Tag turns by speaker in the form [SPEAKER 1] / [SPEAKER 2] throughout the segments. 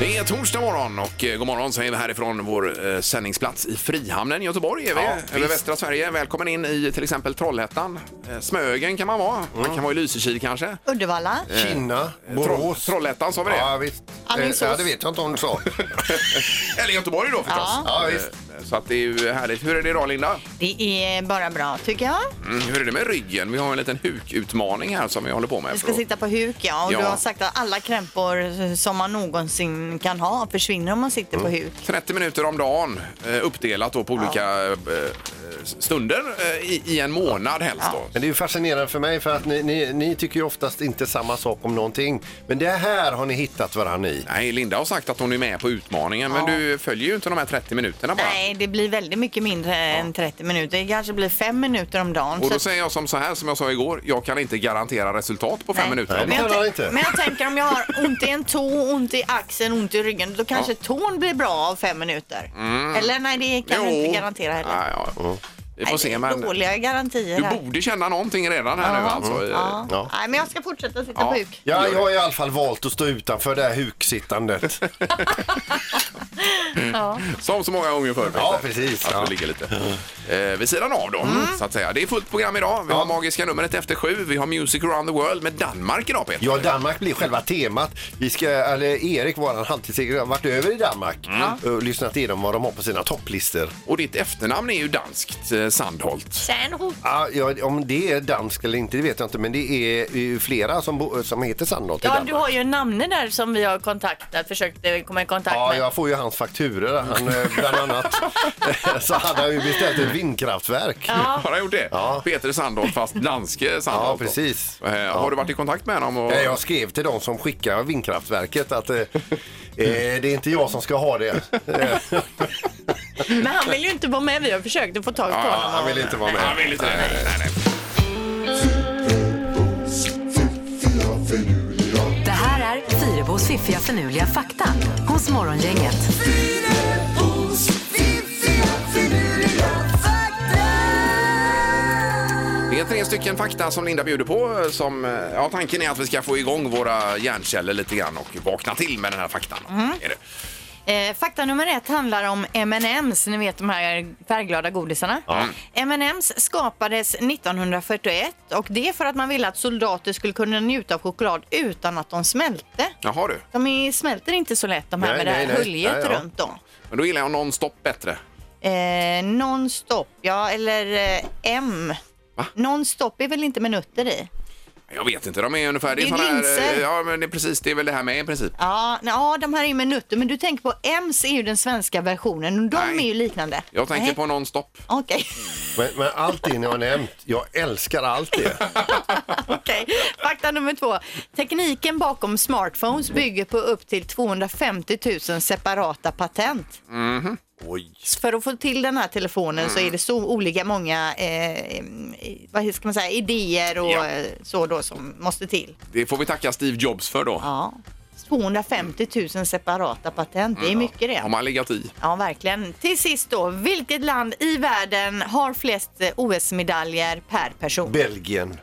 [SPEAKER 1] Det är torsdag morgon och eh, god morgon säger vi härifrån vår eh, sändningsplats i Frihamnen i Göteborg. Är vi, över västra Sverige. Välkommen in i till exempel Trollhättan. Eh, Smögen kan man vara. Man kan vara i Lysekil kanske. Eh,
[SPEAKER 2] Uddevalla.
[SPEAKER 3] Kinna,
[SPEAKER 1] Troll,
[SPEAKER 3] Mm. Borås.
[SPEAKER 1] Trollhättan sa vi det.
[SPEAKER 3] Ja, visst.
[SPEAKER 2] Alingsås.
[SPEAKER 3] Eh, Ja, det vet jag inte om du sa.
[SPEAKER 1] Eller Göteborg då förstås.
[SPEAKER 3] Ja, visst.
[SPEAKER 1] Eh, Så att det är ju härligt. Hur är det idag Linda?
[SPEAKER 2] Det är bara bra tycker jag.
[SPEAKER 1] Mm, hur är det med ryggen? Vi har en liten hukutmaning här som vi håller på med.
[SPEAKER 2] Du ska
[SPEAKER 1] för att-
[SPEAKER 2] sitta på huk ja. Och
[SPEAKER 1] Ja.
[SPEAKER 2] du har sagt att alla krämpor som man någonsin kan ha försvinner om man sitter
[SPEAKER 1] Mm.
[SPEAKER 2] på huk.
[SPEAKER 1] 30 minuter om dagen eh, uppdelat då på olika eh, stunder eh, i, i en månad helst då.
[SPEAKER 3] Men det är ju fascinerande för mig för att ni, ni, ni tycker ju oftast inte samma sak om någonting. Men det här har ni hittat varandra i.
[SPEAKER 1] Nej, Linda har sagt att hon är med på utmaningen, men du följer ju inte de här 30 minuterna bara.
[SPEAKER 2] Nej, det blir väldigt mycket mindre än 30 minuter. Det kanske blir fem minuter om dagen.
[SPEAKER 1] Och
[SPEAKER 2] Så
[SPEAKER 1] då
[SPEAKER 2] att-
[SPEAKER 1] säger jag som så här, som jag sa igår, jag kan inte garantera resultat på fem
[SPEAKER 2] Nej.
[SPEAKER 1] minuter.
[SPEAKER 3] Nej,
[SPEAKER 1] om
[SPEAKER 3] det
[SPEAKER 2] Men
[SPEAKER 1] dagen.
[SPEAKER 2] jag,
[SPEAKER 3] kan han inte.
[SPEAKER 2] tän- men jag tänker om jag har ont i en tå, ont i axeln, ont i ryggen, då kanske tån blir bra av fem minuter. Eller nej, det kan du
[SPEAKER 1] Mm. Jo.
[SPEAKER 2] inte garantera heller.
[SPEAKER 1] Nej, ja. Vi får
[SPEAKER 2] Nej, det
[SPEAKER 1] se,
[SPEAKER 2] är
[SPEAKER 1] men
[SPEAKER 2] Dåliga garantier
[SPEAKER 1] du
[SPEAKER 2] här.
[SPEAKER 1] borde känna någonting redan här nu alltså.
[SPEAKER 2] Ja.
[SPEAKER 3] Ja.
[SPEAKER 2] Nej, men jag ska fortsätta sitta
[SPEAKER 1] Ja.
[SPEAKER 2] på huk.
[SPEAKER 3] Ja, jag har i alla fall valt att stå utanför det här huksittandet.
[SPEAKER 1] Som så många gånger förr.
[SPEAKER 3] Ja,
[SPEAKER 1] Peter.
[SPEAKER 3] precis.
[SPEAKER 1] Att
[SPEAKER 3] Ja.
[SPEAKER 1] det ligger lite eh, vid sidan av då,
[SPEAKER 2] Mm.
[SPEAKER 1] så att säga. Det är fullt program idag. Vi har magiska numret efter sju. Vi har Music around the world med Danmark idag, Peter.
[SPEAKER 3] Ja, Danmark blir själva temat. Vi ska, eller Erik, våran halvtidssegrare, har varit över i Danmark
[SPEAKER 4] Mm.
[SPEAKER 3] och lyssnat igenom vad de har på sina topplistor.
[SPEAKER 1] Och ditt efternamn är ju danskt, eh, Sandholt.
[SPEAKER 2] Stjärnhot.
[SPEAKER 3] Ja, ja, om det är dansk eller inte, det vet jag inte, men det är ju flera som, bo, som heter Sandholt i
[SPEAKER 4] Ja,
[SPEAKER 3] Danmark.
[SPEAKER 4] du har ju en namne där som vi har kontaktat, försökt eh, komma i kontakt
[SPEAKER 3] Ja,
[SPEAKER 4] med.
[SPEAKER 3] jag får ju hans fakturor. Han, eh, bland annat så hade han ju beställt ett vindkraftverk.
[SPEAKER 1] Har jag gjort det?
[SPEAKER 3] Ja.
[SPEAKER 1] Peter Sandholt, fast danske Sandholt.
[SPEAKER 3] Ja, precis.
[SPEAKER 1] Eh, Har du varit i kontakt med honom? Och...
[SPEAKER 3] Eh, Jag skrev till de som skickar vindkraftverket att eh, eh, det är inte jag som ska ha det. Eh,
[SPEAKER 4] Men han vill ju inte vara med. Vi har försökt att få tag på
[SPEAKER 1] Ja,
[SPEAKER 4] honom.
[SPEAKER 3] han vill inte vara
[SPEAKER 1] Nej, han
[SPEAKER 3] med.
[SPEAKER 1] vill inte det. Nej, nej, nej.
[SPEAKER 5] Det här är Fyrabos fiffiga förnuliga fakta hos Morgongänget.
[SPEAKER 1] Det är tre stycken fakta som Linda bjuder på. eh, Som, eh, ja, tanken är att vi ska få igång våra hjärnceller lite grann och vakna till med den här faktan.
[SPEAKER 2] Mm.
[SPEAKER 1] Är det?
[SPEAKER 2] Eh, fakta nummer ett handlar om M&M's. Ni vet de här färgglada godisarna. M&M's skapades 1941 och det för att man ville att soldater skulle kunna njuta av choklad utan att de smälte.
[SPEAKER 1] Jaha du,
[SPEAKER 2] De är, smälter inte så lätt de här
[SPEAKER 3] Nej,
[SPEAKER 2] med det här
[SPEAKER 3] nej, nej.
[SPEAKER 2] höljet
[SPEAKER 3] Nej, ja.
[SPEAKER 2] runt då.
[SPEAKER 1] men då gillar jag non-stop bättre.
[SPEAKER 2] Eh, non-stop, ja eller eh, M.
[SPEAKER 1] Va?
[SPEAKER 2] Non-stop är väl inte med nutter i?
[SPEAKER 1] Jag vet inte, de är ungefär...
[SPEAKER 2] Det är
[SPEAKER 1] sån här, eh,
[SPEAKER 2] linser.
[SPEAKER 1] Ja, men det är precis, det är väl det här med i princip.
[SPEAKER 2] Ja, nej, ja, de här är med nutter, men du tänker på M's är ju den svenska versionen och de
[SPEAKER 1] Nej.
[SPEAKER 2] är ju liknande.
[SPEAKER 1] Jag tänker
[SPEAKER 2] Nej,
[SPEAKER 1] på non-stop.
[SPEAKER 2] Okej.
[SPEAKER 3] Men, men allt det ni har nämnt, jag älskar allt det.
[SPEAKER 2] Okej, fakta nummer två. Tekniken bakom smartphones bygger på upp till 250 000 separata patent. För att få till den här telefonen
[SPEAKER 1] Mm.
[SPEAKER 2] så är det så olika många eh, vad ska man säga, idéer och
[SPEAKER 1] Ja.
[SPEAKER 2] eh, så då som måste till.
[SPEAKER 1] Det får vi tacka Steve Jobs för då.
[SPEAKER 2] Ja. 250 000 separata patent, det är mycket det.
[SPEAKER 1] Mm, Har man legat i.
[SPEAKER 2] Ja, verkligen. Till sist då, vilket land i världen har flest eh, OS-medaljer per person?
[SPEAKER 3] Belgien.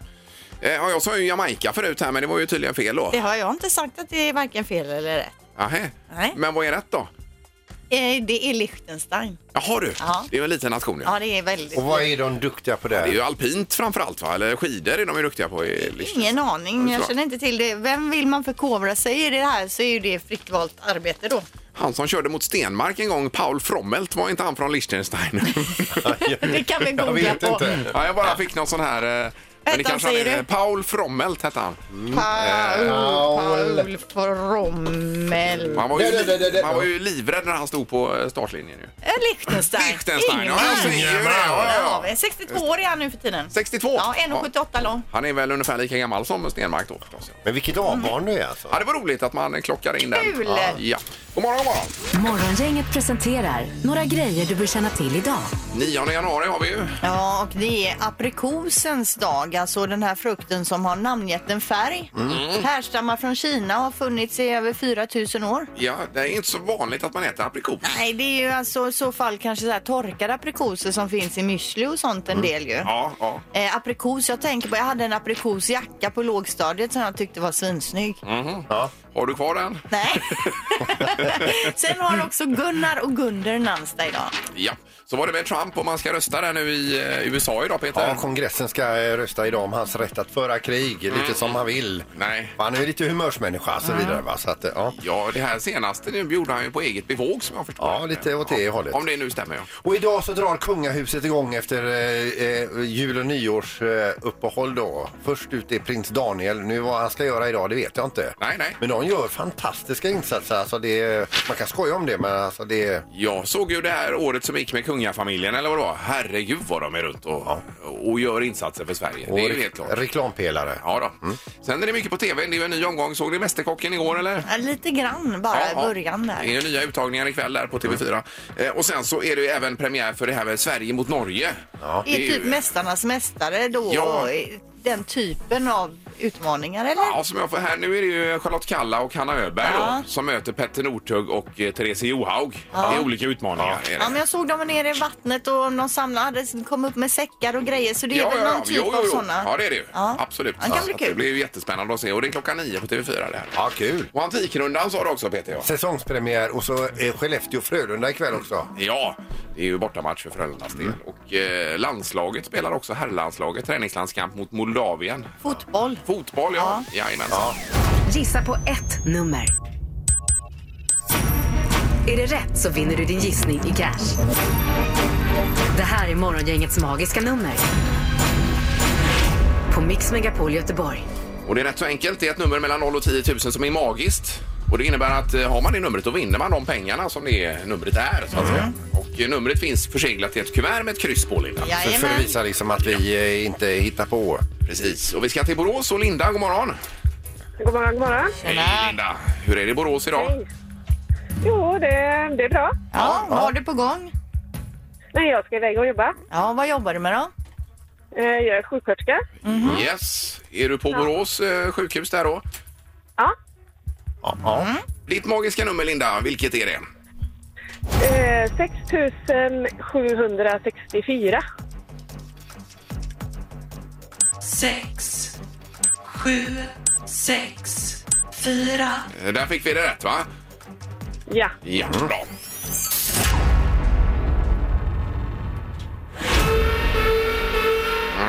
[SPEAKER 1] Eh, ja, jag sa ju Jamaica förut här, men det var ju tydligen fel då.
[SPEAKER 2] Det har jag inte sagt att det är varken fel eller rätt.
[SPEAKER 1] Aha.
[SPEAKER 2] Nej.
[SPEAKER 1] Men vad är rätt då?
[SPEAKER 2] Eh, Det är Liechtenstein.
[SPEAKER 1] Jaha du,
[SPEAKER 2] Ja.
[SPEAKER 1] det är ju en liten nation. Ja.
[SPEAKER 2] Ja, det är väldigt...
[SPEAKER 3] Och vad är de duktiga på
[SPEAKER 1] Det är ju
[SPEAKER 3] där?
[SPEAKER 1] alpint framförallt va? Eller skidor är de ju duktiga på. i Liechtenstein.
[SPEAKER 2] Ingen aning,
[SPEAKER 1] Ja, det är
[SPEAKER 2] jag
[SPEAKER 1] klart.
[SPEAKER 2] känner inte till det. Vem vill man förkovra sig i det här så är ju det fritt valt arbete då.
[SPEAKER 1] Han som körde mot Stenmark en gång, Paul Frommelt, var inte han från Liechtenstein?
[SPEAKER 4] Det kan vi
[SPEAKER 3] Jag
[SPEAKER 4] googla
[SPEAKER 3] vet
[SPEAKER 4] på.
[SPEAKER 3] inte.
[SPEAKER 1] ja, jag bara fick någon sån här eh, Men det
[SPEAKER 2] Vänta,
[SPEAKER 1] kanske han
[SPEAKER 2] säger
[SPEAKER 1] är.
[SPEAKER 2] du?
[SPEAKER 1] Paul Frommelt hette han.
[SPEAKER 2] Paul, Paul Frommel.
[SPEAKER 1] Man var, ju,
[SPEAKER 3] Det, det, det, det.
[SPEAKER 1] man var ju livrädd när han stod på eh, startlinjen. Ju.
[SPEAKER 2] Eh, Liechtenstein.
[SPEAKER 1] Liechtenstein, ja, jag ser ju det. Ja, ja,
[SPEAKER 2] Ja,
[SPEAKER 1] ja.
[SPEAKER 2] 62 år är han nu för tiden.
[SPEAKER 1] 62?
[SPEAKER 2] Ja, 1,78 lång.
[SPEAKER 1] Han är väl ungefär lika gammal som Stenmark då förstås.
[SPEAKER 3] Men vilket avbarn du är alltså.
[SPEAKER 1] Ja, det var roligt att man klockar in den.
[SPEAKER 2] Kul!
[SPEAKER 1] Ja. God morgon, god morgon!
[SPEAKER 5] Morgongänget presenterar några grejer du bör känna till idag.
[SPEAKER 1] 9 januari har vi ju.
[SPEAKER 2] Ja, och det är aprikosens dag, alltså den här frukten som har namngett en färg.
[SPEAKER 1] Mm.
[SPEAKER 2] Härstammar från Kina och har funnits i över 4000 år.
[SPEAKER 1] Ja, det är inte så vanligt att man äter aprikos.
[SPEAKER 2] Nej, det är ju alltså i så fall kanske så här torkade aprikoser som finns i müsli och sånt en
[SPEAKER 1] Mm.
[SPEAKER 2] del ju.
[SPEAKER 1] Ja, ja.
[SPEAKER 2] Eh, aprikos, jag tänker på, jag hade en aprikosjacka på lågstadiet som jag tyckte var svinsnygg.
[SPEAKER 1] Mm. Har du kvar den?
[SPEAKER 2] Nej. Sen har också Gunnar och Gunder namnsdag idag.
[SPEAKER 1] Ja. Så var det med Trump och man ska rösta där nu i eh, USA idag, Peter.
[SPEAKER 3] Ja, kongressen ska eh, rösta idag om hans rätt att föra krig lite som han vill.
[SPEAKER 1] Nej.
[SPEAKER 3] Han är ju lite humörsmänniska och så
[SPEAKER 4] Mm.
[SPEAKER 3] vidare va. Så att, eh, ja.
[SPEAKER 1] Ja, det här senaste nu gjorde han ju på eget bevåg som jag förstår.
[SPEAKER 3] Ja, lite åt det hållet.
[SPEAKER 1] Om det nu stämmer, ja.
[SPEAKER 3] Och idag så drar kungahuset igång efter eh, eh, jul och nyårsuppehåll eh, uppehåll då. Först ut är prins Daniel. Nu vad han ska göra idag det vet jag inte.
[SPEAKER 1] Nej, nej.
[SPEAKER 3] Men de gör fantastiska insatser. Alltså det, är- man kan skoja om det men alltså det är
[SPEAKER 1] Jag såg ju det här året som gick med kungafamiljen eller vad det var. Herregud vad de är runt och, och gör insatser för Sverige. det är ju helt klart.
[SPEAKER 3] reklampelare.
[SPEAKER 1] Ja då.
[SPEAKER 3] Mm.
[SPEAKER 1] Sen är det mycket på tv. Det är ju en ny omgång. Såg ni Mästerkocken igår eller?
[SPEAKER 2] Ja, Lite grann bara i början där. Mm.
[SPEAKER 1] Det är ju nya uttagningar ikväll där på TV4. Eh, och sen så är det ju även premiär för det här med Sverige mot Norge. Ja.
[SPEAKER 2] Är typ Mästarnas mästare då
[SPEAKER 1] Ja.
[SPEAKER 2] den typen av utmaningar eller?
[SPEAKER 1] Ja, som jag får här nu är det ju Charlotte Kalla och Hanna Öberg
[SPEAKER 2] Ja.
[SPEAKER 1] då, som möter Petter Northug och eh, Therese Johaug. Det är olika utmaningar. Är det.
[SPEAKER 2] Ja, men jag såg dem nere i vattnet och de samlade, kom upp med säckar och grejer så det är
[SPEAKER 1] Ja,
[SPEAKER 2] väl
[SPEAKER 1] ja,
[SPEAKER 2] någon
[SPEAKER 1] ja.
[SPEAKER 2] typ
[SPEAKER 1] Jo, jo,
[SPEAKER 2] av
[SPEAKER 1] jo.
[SPEAKER 2] sådana.
[SPEAKER 1] Ja, det är det ju.
[SPEAKER 2] Ja.
[SPEAKER 1] Absolut.
[SPEAKER 2] Ja, det kan bli
[SPEAKER 1] Så
[SPEAKER 2] kul.
[SPEAKER 1] Det blir ju jättespännande att se. Och det är klockan nio på TV4 det här.
[SPEAKER 3] Ja, kul.
[SPEAKER 1] Och Antikrundan sa du också Peter. Ja.
[SPEAKER 3] Säsongspremiär och så eh, Skellefteå-Frölunda ikväll också.
[SPEAKER 1] Ja, det är ju bortamatch för Frölundas
[SPEAKER 2] Mm.
[SPEAKER 1] del. Och eh, landslaget spelar också herrlandslaget träningslandskamp mot Moldavien.
[SPEAKER 2] Fotboll.
[SPEAKER 1] Fotboll, ja. Jajamensan.
[SPEAKER 5] Gissa på ett nummer. Är det rätt så vinner du din gissning i cash. Det här är Morgongängets magiska nummer. På Mix Megapol Göteborg.
[SPEAKER 1] Och det är rätt så enkelt. Det är ett nummer mellan 0 och 10 000 som är magiskt. Och det innebär att eh, har man det numret då vinner man de pengarna som det numret är. Så att säga. Och eh, numret finns förseglat i ett kuvert med ett kryss på, Linda.
[SPEAKER 3] För, för att
[SPEAKER 2] Jajamän.
[SPEAKER 3] visa liksom att vi eh, inte hittar på.
[SPEAKER 1] Precis. Och vi ska till Borås och Linda, god morgon.
[SPEAKER 6] God morgon, god morgon.
[SPEAKER 1] Hej Linda! Hur är det i Borås idag?
[SPEAKER 6] Hej. Jo, det, det är bra.
[SPEAKER 2] Ja, vad har du på gång?
[SPEAKER 6] Nej, jag ska iväg och jobba.
[SPEAKER 2] Ja, vad jobbar du med då?
[SPEAKER 6] Eh, Jag är sjuksköterska.
[SPEAKER 1] Yes. Är du på Borås eh, sjukhus där då?
[SPEAKER 6] Ja.
[SPEAKER 3] Ja, ja.
[SPEAKER 1] Ditt magiska nummer Linda, vilket är det?
[SPEAKER 6] Eh, 6764.
[SPEAKER 7] sex, sju, sex, fyra,
[SPEAKER 1] Eh, Där fick vi det rätt va?
[SPEAKER 6] Ja.
[SPEAKER 1] Ja, bra.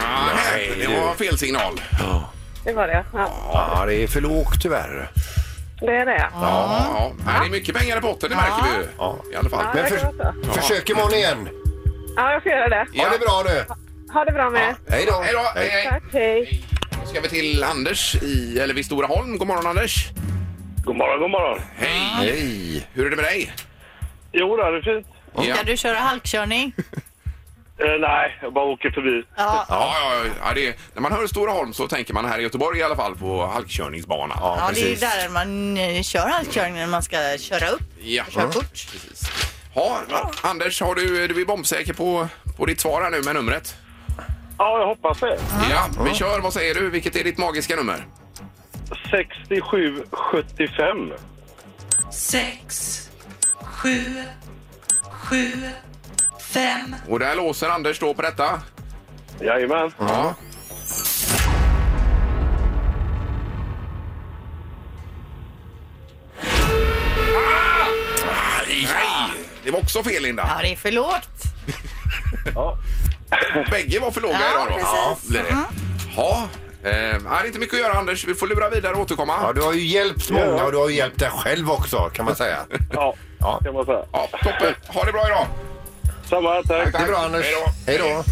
[SPEAKER 1] Ah, Nej, det var fel signal.
[SPEAKER 6] Det var det. Ja,
[SPEAKER 3] ja, det är för lågt tyvärr.
[SPEAKER 6] det är det. Ja.
[SPEAKER 1] Ja, men det är mycket pengar i potten, det märker vi ju. I alla fall.
[SPEAKER 6] Ja,
[SPEAKER 3] Men
[SPEAKER 6] det kan
[SPEAKER 3] för,
[SPEAKER 6] vara så.
[SPEAKER 3] försök imorgon igen.
[SPEAKER 6] ja, jag får göra det.
[SPEAKER 3] Ha det bra nu.
[SPEAKER 6] Ha det bra med.
[SPEAKER 3] Hej då.
[SPEAKER 1] Hej då! Hej, hej.
[SPEAKER 6] Tack, hej.
[SPEAKER 1] Då ska vi till Anders i, eller vid Storaholm. God morgon Anders!
[SPEAKER 8] God morgon, god morgon.
[SPEAKER 1] Hej!
[SPEAKER 3] Hej.
[SPEAKER 1] Hur är det med dig?
[SPEAKER 8] Jo, då, det är fint.
[SPEAKER 1] Ja.
[SPEAKER 2] Ska du köra halkkörning?
[SPEAKER 8] Eh, nej, jag bara åker förbi.
[SPEAKER 1] Ja,
[SPEAKER 2] Ja,
[SPEAKER 1] ja, ja, ja det är, när man hör Storaholm så tänker man här i Göteborg i alla fall på halkkörningsbana. Ja.
[SPEAKER 2] ja det är ju där man eh, kör halkkörning när man ska köra upp. Körkort.
[SPEAKER 1] Precis. Ja, Anders, har du, du är bombsäker på, på ditt svar här nu med numret?
[SPEAKER 8] Ja, jag hoppas det.
[SPEAKER 1] Ja, vi kör. Vad säger du? Vilket är ditt magiska nummer?
[SPEAKER 8] 6775.
[SPEAKER 7] sex, sju, sju, fem,
[SPEAKER 1] Och där låser Anders då på detta.
[SPEAKER 8] Jajamän.
[SPEAKER 1] Ja. Ah! Nej! Det var också fel,
[SPEAKER 2] Ja,
[SPEAKER 1] Linda.
[SPEAKER 2] det är för lågt.
[SPEAKER 8] Ja.
[SPEAKER 1] Bägge var för låga
[SPEAKER 2] Ja,
[SPEAKER 1] idag. Då.
[SPEAKER 2] precis. Mm.
[SPEAKER 1] blir det. Ja, eh, det är inte mycket att göra, Anders. Vi får lura vidare och återkomma.
[SPEAKER 3] Ja, du har ju hjälpt många och du har ju hjälpt dig själv också kan man säga.
[SPEAKER 8] Ja,
[SPEAKER 3] Ja.
[SPEAKER 8] kan man säga.
[SPEAKER 1] Ja, toppen. Ha det bra idag.
[SPEAKER 8] Samma, tack.
[SPEAKER 3] Det är bra Anders.
[SPEAKER 1] Hej då.
[SPEAKER 3] Hej då.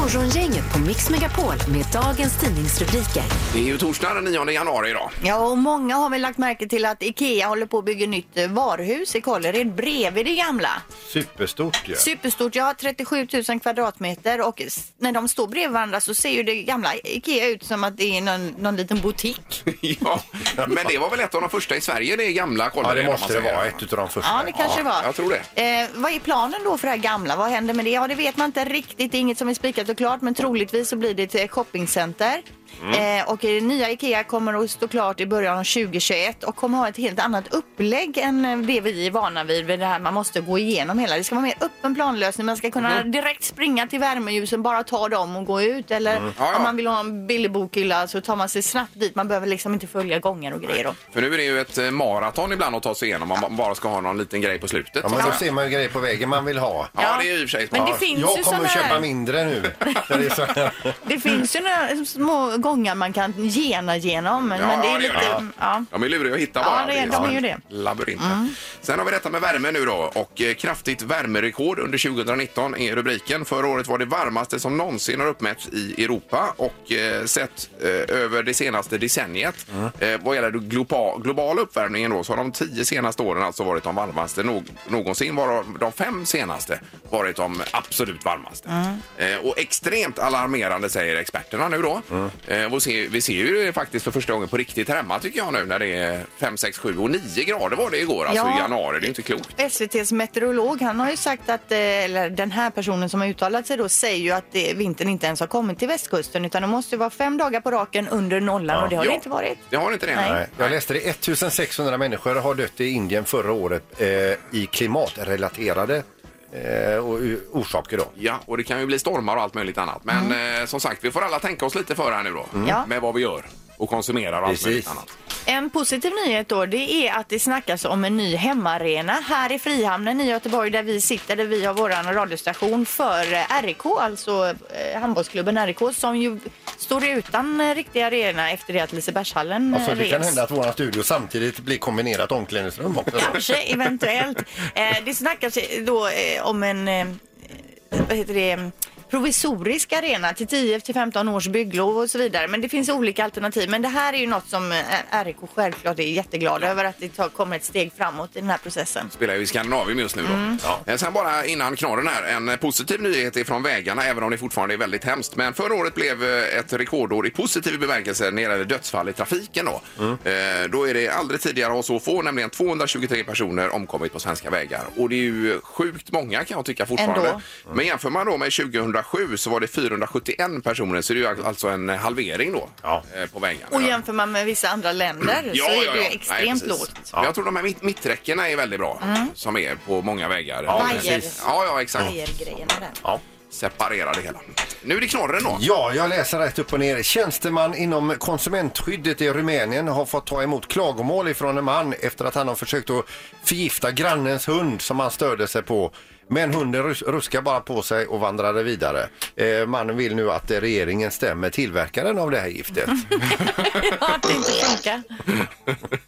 [SPEAKER 5] Morgongänget på Mix Megapol med dagens tidningsrubriker.
[SPEAKER 1] Det är ju torsdag den 9 januari idag.
[SPEAKER 2] Ja, och många har väl lagt märke till att IKEA håller på att bygga nytt eh, varuhus i Kållered bredvid det gamla.
[SPEAKER 3] Superstort ju.
[SPEAKER 2] Superstort, ja. 37 000 kvadratmeter och s- när de står bredvid varandra så ser ju det gamla IKEA ut som att det är någon, någon liten butik.
[SPEAKER 1] ja, men det var väl ett av de första i Sverige, det gamla
[SPEAKER 3] Ja,
[SPEAKER 1] Kållered.
[SPEAKER 3] det
[SPEAKER 1] om man
[SPEAKER 3] måste det
[SPEAKER 1] säger.
[SPEAKER 3] vara. Ett utav de första.
[SPEAKER 2] Ja, det kanske det var.
[SPEAKER 1] Jag tror det.
[SPEAKER 2] Eh, vad är planen då för det här gamla? Vad händer med det? Ja, det vet man inte riktigt. Det är inget som är spikat och klart, men troligtvis så blir det ett eh, shoppingcenter.
[SPEAKER 1] Mm.
[SPEAKER 2] Eh, och det nya IKEA kommer att stå klart i början av 2021 och kommer ha ett helt annat upplägg än eh, det vi är vana vid. vid Det här man måste gå igenom hela. Det ska vara mer öppen planlösning. Man ska kunna
[SPEAKER 1] Mm.
[SPEAKER 2] direkt springa till värmeljusen, bara ta dem och gå ut. Eller
[SPEAKER 1] Mm. Ja, ja.
[SPEAKER 2] om man vill ha en billig bokhylla så tar man sig snabbt dit. Man behöver liksom inte följa gånger och grejer. Och
[SPEAKER 1] För nu är det ju ett eh, maraton ibland att ta sig igenom om man bara ska ha någon liten grej på slutet.
[SPEAKER 3] Ja, men då ser man ju grejer på vägen man vill ha.
[SPEAKER 1] ja det är ju i och för sig
[SPEAKER 4] Men det
[SPEAKER 1] smart.
[SPEAKER 4] finns
[SPEAKER 3] jag
[SPEAKER 4] ju
[SPEAKER 3] kommer
[SPEAKER 4] såna
[SPEAKER 3] att
[SPEAKER 4] här-
[SPEAKER 3] köpa mindre nu. När det är så här.
[SPEAKER 2] Det finns ju några små gångar man kan gena genom. Men, men det är
[SPEAKER 1] ja, det
[SPEAKER 2] lite...
[SPEAKER 1] gör det.
[SPEAKER 2] Ja.
[SPEAKER 1] De är luriga att hitta
[SPEAKER 2] Ja,
[SPEAKER 1] bara.
[SPEAKER 2] det- de
[SPEAKER 1] som
[SPEAKER 2] är ju
[SPEAKER 1] en
[SPEAKER 2] det. Mm.
[SPEAKER 1] Labyrint. Sen har vi detta med värme nu då och eh, kraftigt värmerekord under 2019 är rubriken. Förra året var det varmaste som någonsin har uppmätts i Europa och eh, sett eh, över det senaste decenniet. Eh, vad gäller den globa, globala uppvärmningen då så har de tio senaste åren alltså varit de varmaste nog, någonsin varav de fem senaste varit de absolut varmaste.
[SPEAKER 2] Mm.
[SPEAKER 1] Eh, och extremt alarmerande säger experterna nu då.
[SPEAKER 3] Mm.
[SPEAKER 1] Eh, och se, vi ser ju det faktiskt för första gången på riktigt här hemma tycker jag nu när det är 5, 6, 7 och 9 grader var det igår alltså
[SPEAKER 2] Ja.
[SPEAKER 1] i januari. Det är inte klokt.
[SPEAKER 2] SVTs meteorolog han har ju sagt att, eh, eller den här personen som har uttalat sig då säger ju att eh, vintern inte ens har kommit till västkusten utan det måste ju vara fem dagar på raken under nollan och det har
[SPEAKER 1] Ja.
[SPEAKER 2] det inte varit.
[SPEAKER 1] Det har inte det.
[SPEAKER 2] Nej.
[SPEAKER 3] Nej. Jag läste det. 1600 människor har dött i Indien förra året eh, i klimatrelaterade eh, och- orsaker. Då.
[SPEAKER 1] Ja, och det kan ju bli stormar och allt möjligt annat. Men eh, som sagt, vi får alla tänka oss lite för här nu då.
[SPEAKER 2] Mm. Ja.
[SPEAKER 1] Med vad vi gör och konsumerar och allt
[SPEAKER 3] Mm. Precis.
[SPEAKER 1] möjligt annat.
[SPEAKER 2] En positiv nyhet då det är att det snackas om en ny hemmaarena här i Frihamnen i Göteborg där vi sitter, där vi har våran radiostation för eh, RIK, alltså eh, handbollsklubben RIK som ju står utan eh, riktig arena efter det att Lisebergshallen
[SPEAKER 3] Alltså,
[SPEAKER 2] eh,
[SPEAKER 3] det kan
[SPEAKER 2] revs.
[SPEAKER 3] hända att vår studio samtidigt blir kombinerat omklädningsrum också. då.
[SPEAKER 2] Kanske, eventuellt. Eh, det snackas då eh, om en eh, vad heter det, provisorisk arena till 10 till 15 års bygglov och så vidare. Men det finns olika alternativ. Men det här är ju något som eh, RIK självklart är jätteglad över att det tar, kommer ett steg framåt i den här processen.
[SPEAKER 1] spelar ju i Skandinavien just nu. Då.
[SPEAKER 2] Mm.
[SPEAKER 1] Eh, Sen bara innan knorren här, en eh, positiv nyhet ifrån vägarna, även om det fortfarande är väldigt hemskt. Men förra året blev eh, ett rekordår i positiv bemärkelse när det gäller dödsfall i trafiken. Då, Eh, då är det aldrig tidigare har så få, nämligen 223 personer omkommit på svenska vägar. Och det är ju sjukt många kan jag tycka fortfarande.
[SPEAKER 2] Ändå.
[SPEAKER 1] Men jämför man då med 2007 så var det 471 personer, så det är ju alltså en halvering då eh, på vägarna.
[SPEAKER 2] Och jämför man med vissa andra länder så är det ju
[SPEAKER 1] Nej,
[SPEAKER 2] extremt
[SPEAKER 1] precis.
[SPEAKER 2] lågt. Mm.
[SPEAKER 1] Men Jag tror de här mitt, mitträckena är väldigt bra som är på många vägar.
[SPEAKER 2] Ja, Vajer. precis.
[SPEAKER 1] Ja, ja, exakt.
[SPEAKER 2] Grejerna där.
[SPEAKER 1] Separera det hela. Nu är det knorren då.
[SPEAKER 3] Ja, jag läser rätt upp och ner. Tjänsteman inom konsumentskyddet i Rumänien har fått ta emot klagomål ifrån en man efter att han har försökt att förgifta grannens hund som han störde sig på. Men hunden rus- ruskade bara på sig och vandrade vidare. Eh, mannen vill nu att eh, regeringen stämmer tillverkaren av det här giftet.
[SPEAKER 2] Ja, att det inte funkar.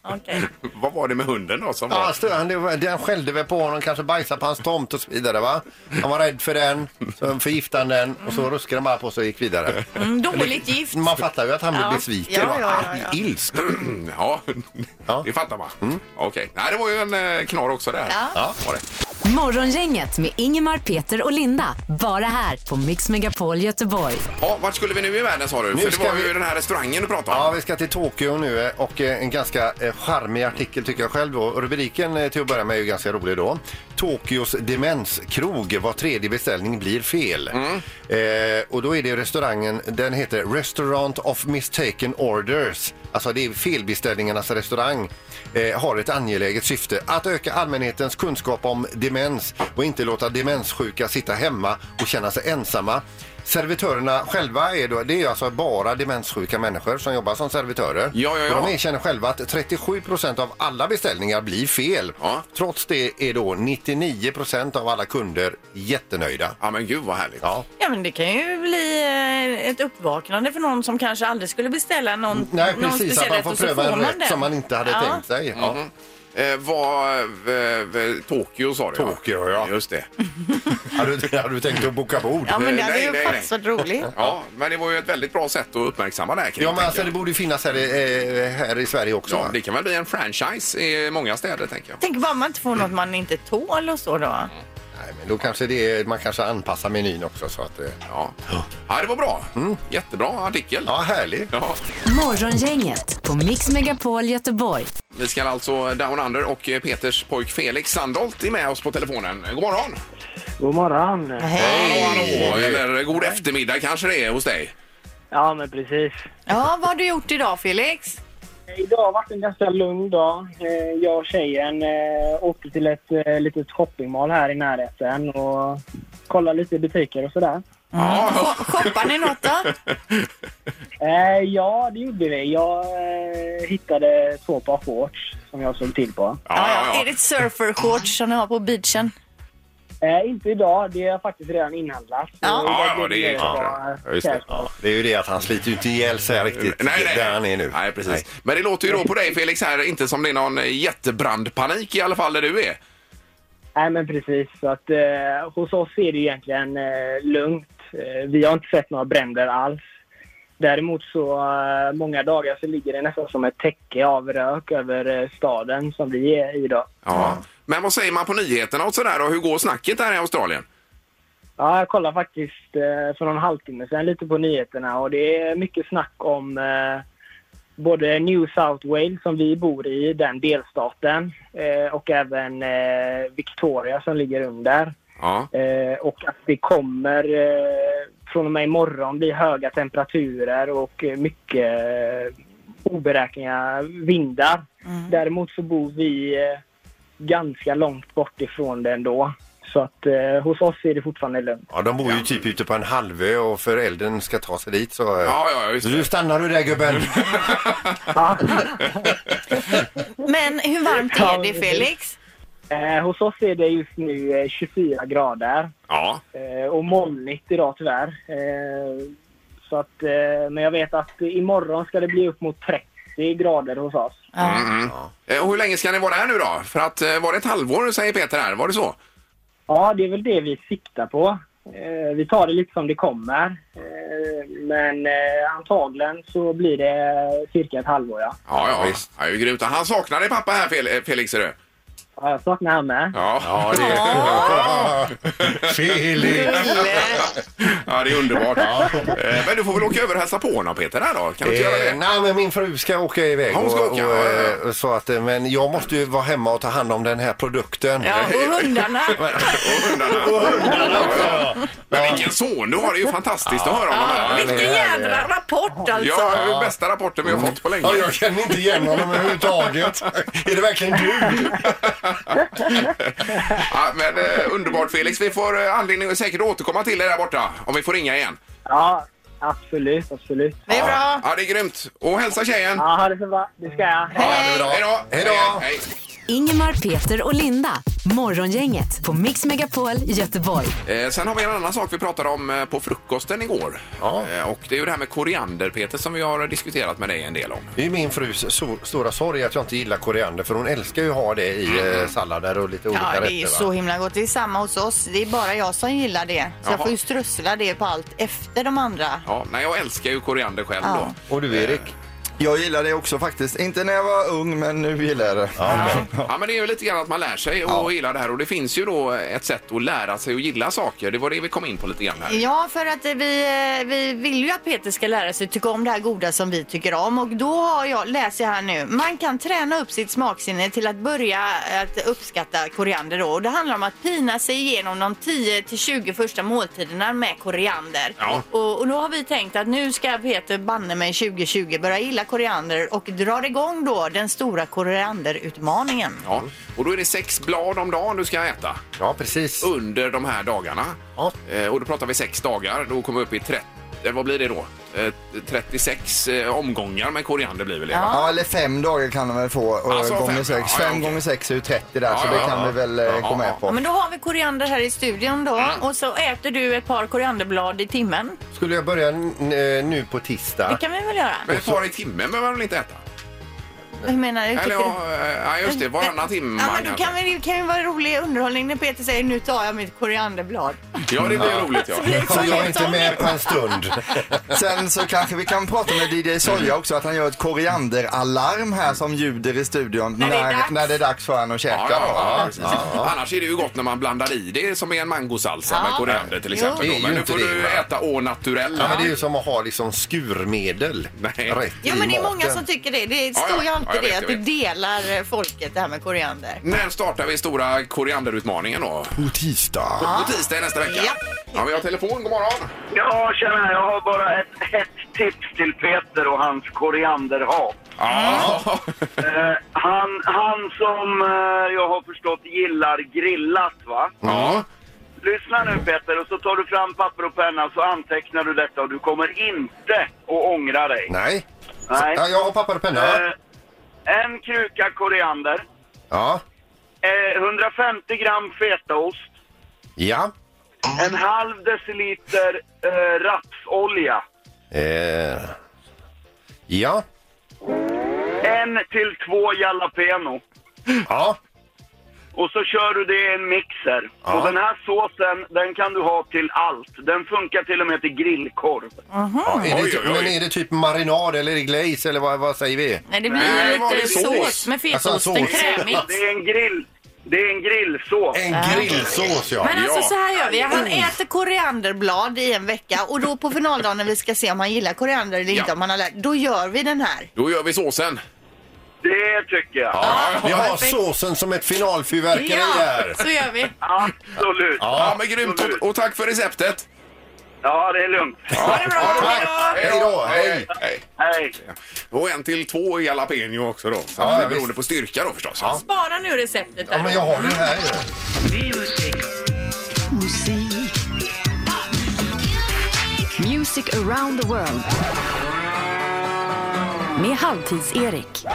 [SPEAKER 2] Okej.
[SPEAKER 1] Vad var det med hunden då som
[SPEAKER 3] Ja,
[SPEAKER 1] var...
[SPEAKER 3] han stö- han, det var- den skällde väl på honom, kanske bajsade på hans tomt och så vidare va? Han var rädd för den, så förgiftade han den och så ruskade han bara på sig och gick vidare.
[SPEAKER 2] Mm, dåligt gift.
[SPEAKER 3] Man fattar ju att han blev
[SPEAKER 2] Ja.
[SPEAKER 3] besviken
[SPEAKER 2] Ja,
[SPEAKER 3] och
[SPEAKER 2] ja, ja,
[SPEAKER 3] arg,
[SPEAKER 2] ja.
[SPEAKER 3] ilsk.
[SPEAKER 1] ja,
[SPEAKER 3] Ja. Mm.
[SPEAKER 1] det fattar man. Okej. Nej, det var ju en eh, knorr också där.
[SPEAKER 2] Ja.
[SPEAKER 1] Var det.
[SPEAKER 5] Morgongänget med Ingemar, Peter och Linda. Bara här på Mix Megapol Göteborg.
[SPEAKER 1] Ja, vart skulle vi nu i världen sa du?
[SPEAKER 3] Nu
[SPEAKER 1] För det
[SPEAKER 3] ska
[SPEAKER 1] var
[SPEAKER 3] vi-
[SPEAKER 1] ju den här restaurangen du pratade om.
[SPEAKER 3] Ja, vi ska till Tokyo nu eh, och eh, en ganska eh, charmig artikel tycker jag själv. Då. Rubriken eh, till att börja med är ju ganska rolig då. Tokyos demenskrog, var tredje beställning blir fel. Eh, och då är det restaurangen, den heter Restaurant of Mistaken Orders. Alltså det är felbeställningarnas restaurang. Eh, har ett angeläget syfte att öka allmänhetens kunskap om demens och inte låta demenssjuka sitta hemma och känna sig ensamma. Servitörerna själva är, då, det är ju alltså bara demenssjuka människor som jobbar som servitörer.
[SPEAKER 1] Ja, ja, ja.
[SPEAKER 3] Och de erkänner själva att 37 procent av alla beställningar blir fel.
[SPEAKER 1] Ja.
[SPEAKER 3] Trots det är då 99 procent av alla kunder jättenöjda.
[SPEAKER 1] Ja, men gud vad härligt.
[SPEAKER 3] Ja.
[SPEAKER 4] Ja, men det kan ju bli eh, ett uppvaknande för någon som kanske aldrig skulle beställa någon,
[SPEAKER 3] Nej,
[SPEAKER 4] någon
[SPEAKER 3] precis. Att
[SPEAKER 4] speciell
[SPEAKER 3] man
[SPEAKER 4] rätt
[SPEAKER 3] får
[SPEAKER 4] och så
[SPEAKER 3] pröva
[SPEAKER 4] får
[SPEAKER 3] en
[SPEAKER 4] man
[SPEAKER 3] rätt
[SPEAKER 4] den.
[SPEAKER 3] som man inte hade
[SPEAKER 4] ja.
[SPEAKER 3] tänkt sig. Ja.
[SPEAKER 1] eh, var eh, eh, Tokyo sa du? Tokyo, ja. Just det. hade, du, hade du tänkt att boka bord?
[SPEAKER 2] Ja, men det hade ju faktiskt varit roligt.
[SPEAKER 1] Ja, men det var ju ett väldigt bra sätt att uppmärksamma det här kring,
[SPEAKER 3] Ja, men
[SPEAKER 1] tänker
[SPEAKER 3] alltså
[SPEAKER 1] jag.
[SPEAKER 3] det borde ju finnas här, i- eh, här i Sverige också.
[SPEAKER 1] Ja, det kan väl bli en franchise i många städer, tänker jag.
[SPEAKER 2] Tänk bara man inte får något man inte tål och så då.
[SPEAKER 3] Nej, men då kanske det är, man kanske anpassar menyn också så att... eh,
[SPEAKER 1] Ja. ja, det var bra. Jättebra artikel.
[SPEAKER 3] Mm. Ja, härlig.
[SPEAKER 1] Ja.
[SPEAKER 5] Morgongänget på Mix Megapol Göteborg.
[SPEAKER 1] Vi ska alltså Down Under och eh, Peters pojk Felix Sandholt är med oss på telefonen. God morgon!
[SPEAKER 9] God morgon!
[SPEAKER 1] Hej! Eller god eftermiddag kanske det är hos dig.
[SPEAKER 9] Ja, men precis.
[SPEAKER 2] Ja, vad har du gjort idag Felix?
[SPEAKER 9] Idag har varit en ganska lugn dag. Eh, Jag och tjejen eh, åkte till ett eh, litet shoppingmall här i närheten och kollade lite i butiker och sådär.
[SPEAKER 2] Shoppar ni något då?
[SPEAKER 9] Eh, Ja, det gjorde vi. Jag eh, hittade två par shorts som jag såg till på.
[SPEAKER 2] Är det ett surfershorts som ni har på beachen?
[SPEAKER 9] Eh, inte idag. Det har faktiskt redan inhandlats.
[SPEAKER 3] Ja,
[SPEAKER 9] ja, det är klart.
[SPEAKER 3] Ja, just det. Ja, det är ju det att han sliter ju inte ihjäl sig riktigt
[SPEAKER 1] Nej, nej.
[SPEAKER 3] där han är nu.
[SPEAKER 1] Nej, precis. Men det låter ju då på dig Felix här, inte som det är någon jättebrandpanik i alla fall där du är.
[SPEAKER 9] Nej, men precis. Så att, eh, hos oss är det ju egentligen eh, lugnt. Eh, vi har inte sett några bränder alls. Däremot så eh, många dagar så ligger det nästan som ett täcke av rök över eh, staden som vi är i idag.
[SPEAKER 1] Ja. Men vad säger man på nyheterna och sådär och hur går snacket där i Australien?
[SPEAKER 9] Ja, jag kollade faktiskt eh, för någon halvtimme sedan lite på nyheterna och det är mycket snack om eh, både New South Wales som vi bor i, den delstaten, eh, och även eh, Victoria som ligger under.
[SPEAKER 1] Ja.
[SPEAKER 9] Eh, och att det kommer eh, från och med imorgon bli höga temperaturer och eh, mycket eh, oberäkneliga vindar. Däremot så bor vi eh, ganska långt bort ifrån det ändå. Så att eh, hos oss är det fortfarande lugnt.
[SPEAKER 3] Ja, de bor ju typ ute på en halvö och för elden ska ta sig dit så...
[SPEAKER 1] Ja, ja, just
[SPEAKER 3] så nu stannar du där gubben.
[SPEAKER 2] Men hur varmt är det Felix?
[SPEAKER 9] Eh, hos oss är det just nu eh, 24 grader
[SPEAKER 1] Ja.
[SPEAKER 9] eh, och molnigt idag tyvärr. Eh, så att, eh, men jag vet att imorgon ska det bli upp mot 30 grader hos oss.
[SPEAKER 1] Mm. Eh, Och hur länge ska ni vara här nu då? För att eh, var det ett halvår säger Peter här, var det så?
[SPEAKER 9] Ja, det är väl det vi siktar på. Eh, vi tar det lite som det kommer. Eh, men eh, antagligen så blir det cirka ett halvår, ja.
[SPEAKER 1] Ja, ja, visst. Ja, det är ju grymt. Han saknar dig pappa här Fel- eh, Felix, är du?
[SPEAKER 9] ja jag saknar han med.
[SPEAKER 1] Ja, ja det är... Felix! ja, det är underbart. Eh, Men du får väl åka över och hälsa på honom Peter här då? Kan du inte göra det?
[SPEAKER 3] Eh, nej, men min fru ska åka iväg.
[SPEAKER 1] Hon ska
[SPEAKER 3] och,
[SPEAKER 1] åka,
[SPEAKER 3] och,
[SPEAKER 1] ja, ja,
[SPEAKER 3] eh, Så att, eh, men jag måste ju vara hemma och ta hand om den här produkten.
[SPEAKER 2] Ja, och hundarna.
[SPEAKER 1] Men vilken son du har, det är ju fantastiskt att höra honom här.
[SPEAKER 2] Vilken jädra rapport alltså.
[SPEAKER 1] Ja, det är den bästa rapporten vi har fått på länge.
[SPEAKER 3] Ja, jag känner inte igen honom överhuvudtaget. Är det verkligen du?
[SPEAKER 1] Ja, men eh, underbart Felix, vi får eh, anledning att säkert återkomma till dig där borta om vi får ringa igen.
[SPEAKER 9] Ja, absolut, absolut.
[SPEAKER 1] Det är bra. Ja, det är grymt. Och hälsa tjejen.
[SPEAKER 9] Ja, ha det så bra. Det ska jag.
[SPEAKER 1] Hej då! Hej då! Hej.
[SPEAKER 5] Ingemar, Peter och Linda. Morgongänget på Mix Megapol Göteborg.
[SPEAKER 1] Eh, sen har vi en annan sak vi pratade om eh, på frukosten igår. Eh, och det är ju det här med koriander Peter som vi har diskuterat med dig en del om.
[SPEAKER 3] Det är ju min frus so- stora sorg att jag inte gillar koriander för hon älskar ju att ha det i eh, sallader och lite olika
[SPEAKER 2] Ja,
[SPEAKER 3] rätter.
[SPEAKER 2] det är
[SPEAKER 3] va?
[SPEAKER 2] så himla gott. Det är samma hos oss. Det är bara jag som gillar det. Så jag
[SPEAKER 1] Jaha.
[SPEAKER 2] får ju strössla det på allt efter de andra.
[SPEAKER 1] Ja, nej, jag älskar ju koriander själv
[SPEAKER 2] Ja.
[SPEAKER 1] då.
[SPEAKER 3] Och du Erik?
[SPEAKER 10] Jag gillar det också faktiskt. Inte när jag var ung, men nu gillar jag det.
[SPEAKER 1] Ja, men det är ju lite grann att man lär sig och gillar det här och det finns ju då ett sätt att lära sig att gilla saker. Det var det vi kom in på lite grann här.
[SPEAKER 2] Ja, för att eh, vi, eh, vi vill ju att Peter ska lära sig tycka om det här goda som vi tycker om. Och då har jag, läser jag här nu, man kan träna upp sitt smaksinne till att börja eh, att uppskatta koriander då. Och det handlar om att pina sig igenom de 10 till 20 första måltiderna med koriander.
[SPEAKER 7] Ja.
[SPEAKER 2] Och, och då har vi tänkt att nu ska Peter banne mig 2020 börja gilla koriander och drar igång då den stora korianderutmaningen.
[SPEAKER 1] Ja, och då är det sex blad om dagen du ska äta.
[SPEAKER 3] Ja, precis.
[SPEAKER 1] Under de här dagarna. Eh, och då pratar vi sex dagar. Då kommer vi upp i 30, eh, vad blir det då? Eh, 36 eh, omgångar med koriander blir väl det? va?
[SPEAKER 10] Ja, eller fem dagar kan man väl få. Och
[SPEAKER 1] Alltså,
[SPEAKER 10] gånger
[SPEAKER 1] fem-
[SPEAKER 10] sex.
[SPEAKER 1] ja, ja,
[SPEAKER 10] fem gånger sex är ju 30 där, så det kan vi väl eh, gå med på.
[SPEAKER 4] Ja, men då har vi koriander här i studion då och så äter du ett par korianderblad i timmen.
[SPEAKER 3] Skulle jag börja n- eh, nu på tisdag?
[SPEAKER 4] Det kan vi väl göra?
[SPEAKER 1] Men ett par i timmen behöver man väl inte äta?
[SPEAKER 2] Hur menar du?
[SPEAKER 1] Eller
[SPEAKER 2] Tycker du-
[SPEAKER 1] ja, eh, ja, just det. Varannan timme.
[SPEAKER 2] Ja, men då kan, vi, det kan ju vara rolig underhållning när Peter säger nu tar jag mitt korianderblad.
[SPEAKER 1] Ja, det blir
[SPEAKER 10] Ja.
[SPEAKER 1] roligt. Ja.
[SPEAKER 10] Nu kom jag inte med på en
[SPEAKER 3] stund.
[SPEAKER 10] Sen så kanske vi kan prata med DJ Soja också att han gör ett korianderalarm här som ljuder i studion när,
[SPEAKER 1] det är
[SPEAKER 10] när,
[SPEAKER 1] dags.
[SPEAKER 10] det är dags för han att käka.
[SPEAKER 1] Ja, ja, ja, precis. Annars är det ju gott när man blandar i det som är en mangosalsa
[SPEAKER 10] Ja.
[SPEAKER 1] med koriander till
[SPEAKER 10] Jo.
[SPEAKER 1] exempel.
[SPEAKER 10] Det är
[SPEAKER 1] Då. Men
[SPEAKER 10] ju
[SPEAKER 1] nu
[SPEAKER 10] inte
[SPEAKER 1] får
[SPEAKER 10] det,
[SPEAKER 1] du
[SPEAKER 10] va?
[SPEAKER 1] äta å naturell.
[SPEAKER 3] Ja, men det är ju som att ha liksom skurmedel rätt
[SPEAKER 2] Ja,
[SPEAKER 3] i
[SPEAKER 2] men det är
[SPEAKER 3] maten.
[SPEAKER 2] många som tycker det. Det
[SPEAKER 1] Ja,
[SPEAKER 2] står ju
[SPEAKER 1] ja.
[SPEAKER 2] alltid
[SPEAKER 1] Ja, jag
[SPEAKER 2] det,
[SPEAKER 1] vet,
[SPEAKER 2] att
[SPEAKER 1] jag
[SPEAKER 2] det
[SPEAKER 1] vet.
[SPEAKER 2] delar eh, folket det här med koriander.
[SPEAKER 1] När startar vi stora korianderutmaningen då?
[SPEAKER 10] På tisdag.
[SPEAKER 1] På tisdag nästa vecka.
[SPEAKER 2] Ja.
[SPEAKER 1] Ja, vi har telefon. God morgon.
[SPEAKER 11] Ja, tjena. Jag har bara ett hett tips till Peter och hans korianderhat.
[SPEAKER 1] Ja.
[SPEAKER 11] Eh, han, han som eh, jag har förstått gillar grillat, va?
[SPEAKER 1] Ja.
[SPEAKER 11] Lyssna nu Peter och så tar du fram papper och penna så antecknar du detta och du kommer inte att ångra dig.
[SPEAKER 3] Nej.
[SPEAKER 11] Nej.
[SPEAKER 3] Ja, jag har papper och penna.
[SPEAKER 11] Eh, en kruka koriander,
[SPEAKER 3] Ja.
[SPEAKER 11] eh, 150 gram fetaost,
[SPEAKER 3] Ja.
[SPEAKER 11] en halv deciliter eh, rapsolja.
[SPEAKER 3] Eh. Ja.
[SPEAKER 11] En till två jalapeno.
[SPEAKER 3] Ja.
[SPEAKER 11] Och så kör du det i en mixer.
[SPEAKER 3] Ja.
[SPEAKER 11] Och den här såsen, den kan du ha till allt. Den funkar till och med till grillkorv.
[SPEAKER 3] Ja, är det,
[SPEAKER 11] Oj, oj, oj.
[SPEAKER 3] Men är det typ marinad eller är det glaze eller vad, vad säger vi?
[SPEAKER 4] Nej, det blir lite sås. med fetaosten,
[SPEAKER 3] sås.
[SPEAKER 4] krämigt.
[SPEAKER 11] Det är en grill... Det är en grillsås.
[SPEAKER 3] En grillsås, ja.
[SPEAKER 2] Men alltså
[SPEAKER 3] Ja.
[SPEAKER 2] så här gör vi. Han äter korianderblad i en vecka och då på finaldagen när vi ska se om han gillar koriander eller inte, om han har lärt, då gör vi den här.
[SPEAKER 1] Då gör vi såsen.
[SPEAKER 11] Det tycker jag.
[SPEAKER 3] Vi har såsen som ett finalfyrverkeri här.
[SPEAKER 2] gör vi.
[SPEAKER 11] Absolut.
[SPEAKER 1] Ja, men grymt. Och, och tack för receptet.
[SPEAKER 11] Ja, det är lugnt.
[SPEAKER 1] Ha det bra.
[SPEAKER 3] Hej då.
[SPEAKER 1] Hej.
[SPEAKER 3] Hej.
[SPEAKER 1] Hej.
[SPEAKER 11] Hej.
[SPEAKER 1] Och en till två jalapeno också då. Så
[SPEAKER 3] Ja,
[SPEAKER 1] det är
[SPEAKER 3] visst.
[SPEAKER 1] beroende på styrka då förstås.
[SPEAKER 4] Spara nu receptet där.
[SPEAKER 3] Ja, men jag har det här ju.
[SPEAKER 12] Music around the world. Med Halvtids-Erik.